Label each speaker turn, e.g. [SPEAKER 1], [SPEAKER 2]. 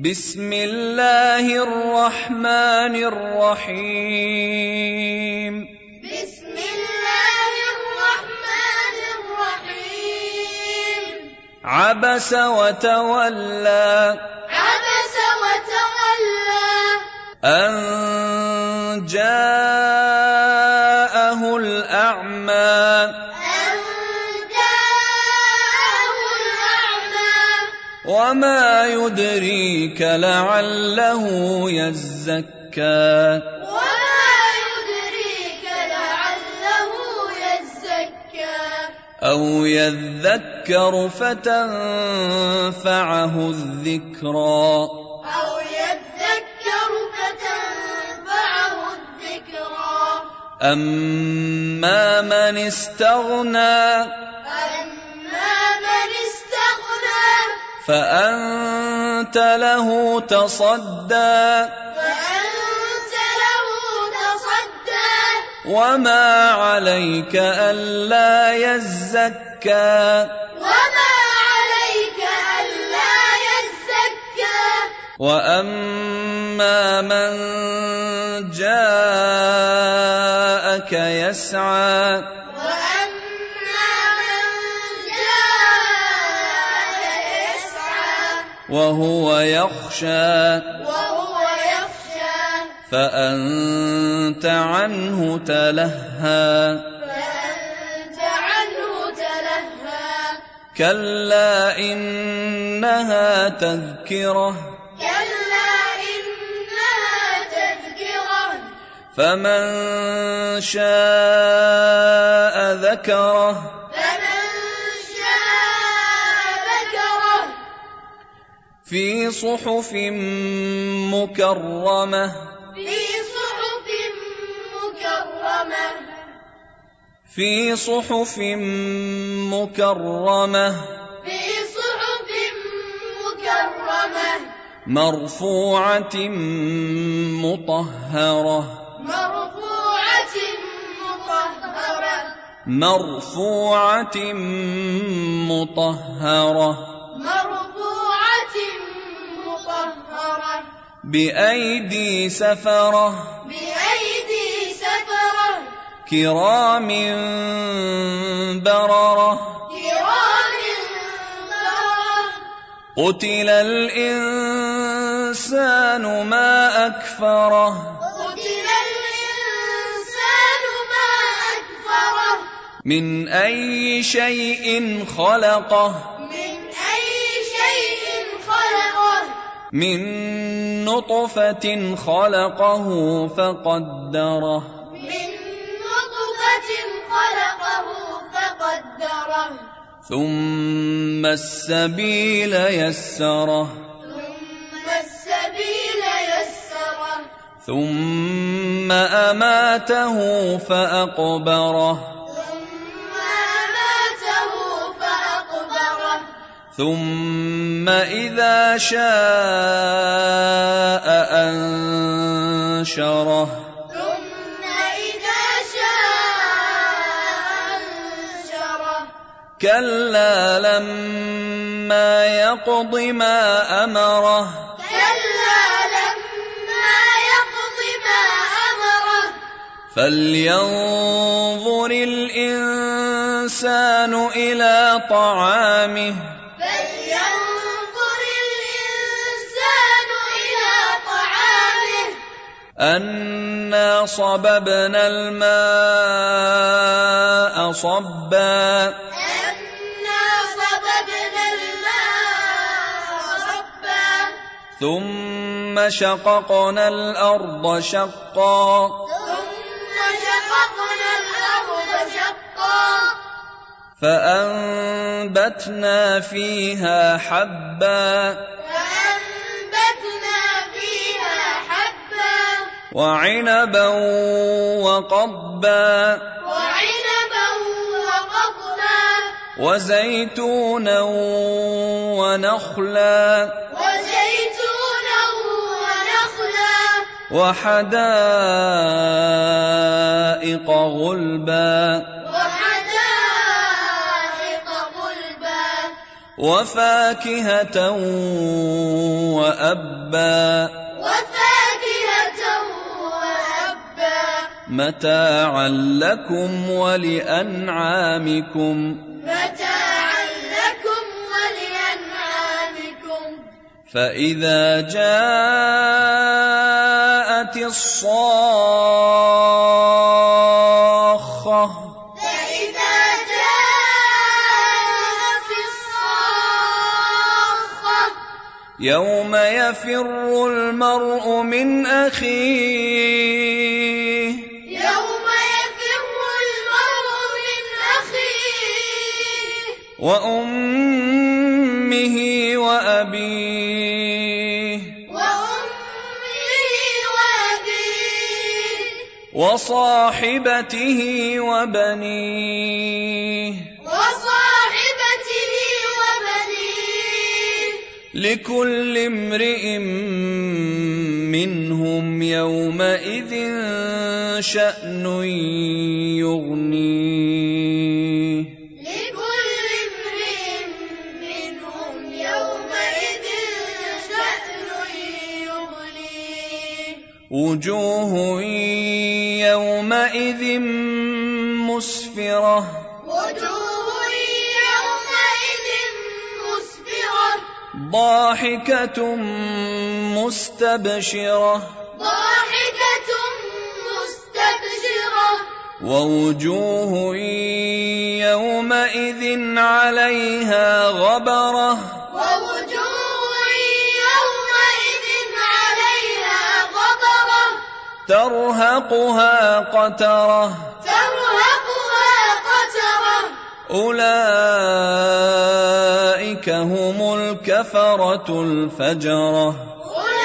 [SPEAKER 1] بسم الله الرحمن الرحيم
[SPEAKER 2] بسم الله الرحمن الرحيم
[SPEAKER 1] عبس وتولى
[SPEAKER 2] عبس وتولى
[SPEAKER 1] أن جاءه الأعمى
[SPEAKER 2] أن جاءه الأعمى
[SPEAKER 1] وما يدريك لعله يزكى
[SPEAKER 2] وما يدريك لعله يزكى
[SPEAKER 1] أو يذكر فتنفعه الذكرى
[SPEAKER 2] أو يذكر فتنفعه الذكرى
[SPEAKER 1] أما من استغنى
[SPEAKER 2] أما من استغنى
[SPEAKER 1] فأنت له تصدى
[SPEAKER 2] فأنت له تصدى
[SPEAKER 1] وما عليك ألا يزكى
[SPEAKER 2] وما عليك ألا يزكى
[SPEAKER 1] وأما من جاءك يسعى
[SPEAKER 2] وأما من جاء يسعى
[SPEAKER 1] وهو يخشى
[SPEAKER 2] وهو يخشى
[SPEAKER 1] فأنت عنه تلهى
[SPEAKER 2] فأنت عنه تلهى
[SPEAKER 1] كلا إنها تذكره
[SPEAKER 2] كلا إنها تذكرة
[SPEAKER 1] فمن شاء ذكره
[SPEAKER 2] فمن شاء ذكره
[SPEAKER 1] في صحف مكرمه
[SPEAKER 2] في صحف مكرمة
[SPEAKER 1] في صحف مكرمه
[SPEAKER 2] في صحف مكرمة
[SPEAKER 1] مرفوعه مطهره
[SPEAKER 2] مرفوعة مطهرة
[SPEAKER 1] مرفوعه مطهره
[SPEAKER 2] مرفوعة مطهرة
[SPEAKER 1] بايدي سفره
[SPEAKER 2] بأيدي سفرة
[SPEAKER 1] كرام برره
[SPEAKER 2] كرام بررة
[SPEAKER 1] قتل الإنسان ما أكفره
[SPEAKER 2] قتل الإنسان ما أكفره
[SPEAKER 1] من أي شيء خلقه
[SPEAKER 2] من أي شيء خلقه
[SPEAKER 1] من نطفة خلقه فقدره
[SPEAKER 2] من نطفة خلقه فقدره
[SPEAKER 1] ثم السبيل يسره
[SPEAKER 2] ثم السبيل يسره
[SPEAKER 1] ثم أماته فأقبره
[SPEAKER 2] ثم أماته فأقبره
[SPEAKER 1] ثم إذا شاء أنشره
[SPEAKER 2] ثم إذا شاء أنشره
[SPEAKER 1] كلا لما يقض ما أمره
[SPEAKER 2] كلا لما يقض ما أمره
[SPEAKER 1] فلينظر الإنسان إلى طعامه
[SPEAKER 2] فلينظر الإنسان إلى طعامه
[SPEAKER 1] أنا صببنا الماء صبا
[SPEAKER 2] أنا صببنا الماء صبا
[SPEAKER 1] ثم شققنا الأرض شقا
[SPEAKER 2] ثم شققنا الأرض شقا
[SPEAKER 1] فأنبتنا فيها حبا
[SPEAKER 2] فأنبتنا فيها حبا
[SPEAKER 1] وعنبا وقضبا
[SPEAKER 2] وعنبا وقضبا
[SPEAKER 1] وزيتونا ونخلا
[SPEAKER 2] وزيتونا ونخلا وحدائق غلبا وحدائق غلبا
[SPEAKER 1] وفاكهة وأبا
[SPEAKER 2] وفاكهة وأبا
[SPEAKER 1] متاعا لكم ولأنعامكم
[SPEAKER 2] متاعا لكم ولأنعامكم
[SPEAKER 1] فإذا جاءت الصاخة
[SPEAKER 2] فإذا جاءت الصاخة
[SPEAKER 1] يوم يفر المرء من أخيه
[SPEAKER 2] يوم يفر المرء من أخيه
[SPEAKER 1] وأمه وأبيه
[SPEAKER 2] وأمه وأبيه
[SPEAKER 1] وصاحبته وبنيه
[SPEAKER 2] وصاحبته وبنيه
[SPEAKER 1] لكل امرئ منهم يومئذ شأن يغنيه
[SPEAKER 2] لكل امرئ منهم يومئذ شأن يغنيه
[SPEAKER 1] وجوه يومئذ مسفرة
[SPEAKER 2] وجوه يومئذ مسفرة
[SPEAKER 1] ضاحكة مستبشرة
[SPEAKER 2] ضاحكة مستبشرة
[SPEAKER 1] ووجوه يومئذ عليها غبرة
[SPEAKER 2] ووجوه يومئذ عليها غبرة
[SPEAKER 1] ترهقها قترة
[SPEAKER 2] ترهقها قترة
[SPEAKER 1] أولئك هم الكفرة الفجرة
[SPEAKER 2] أولئك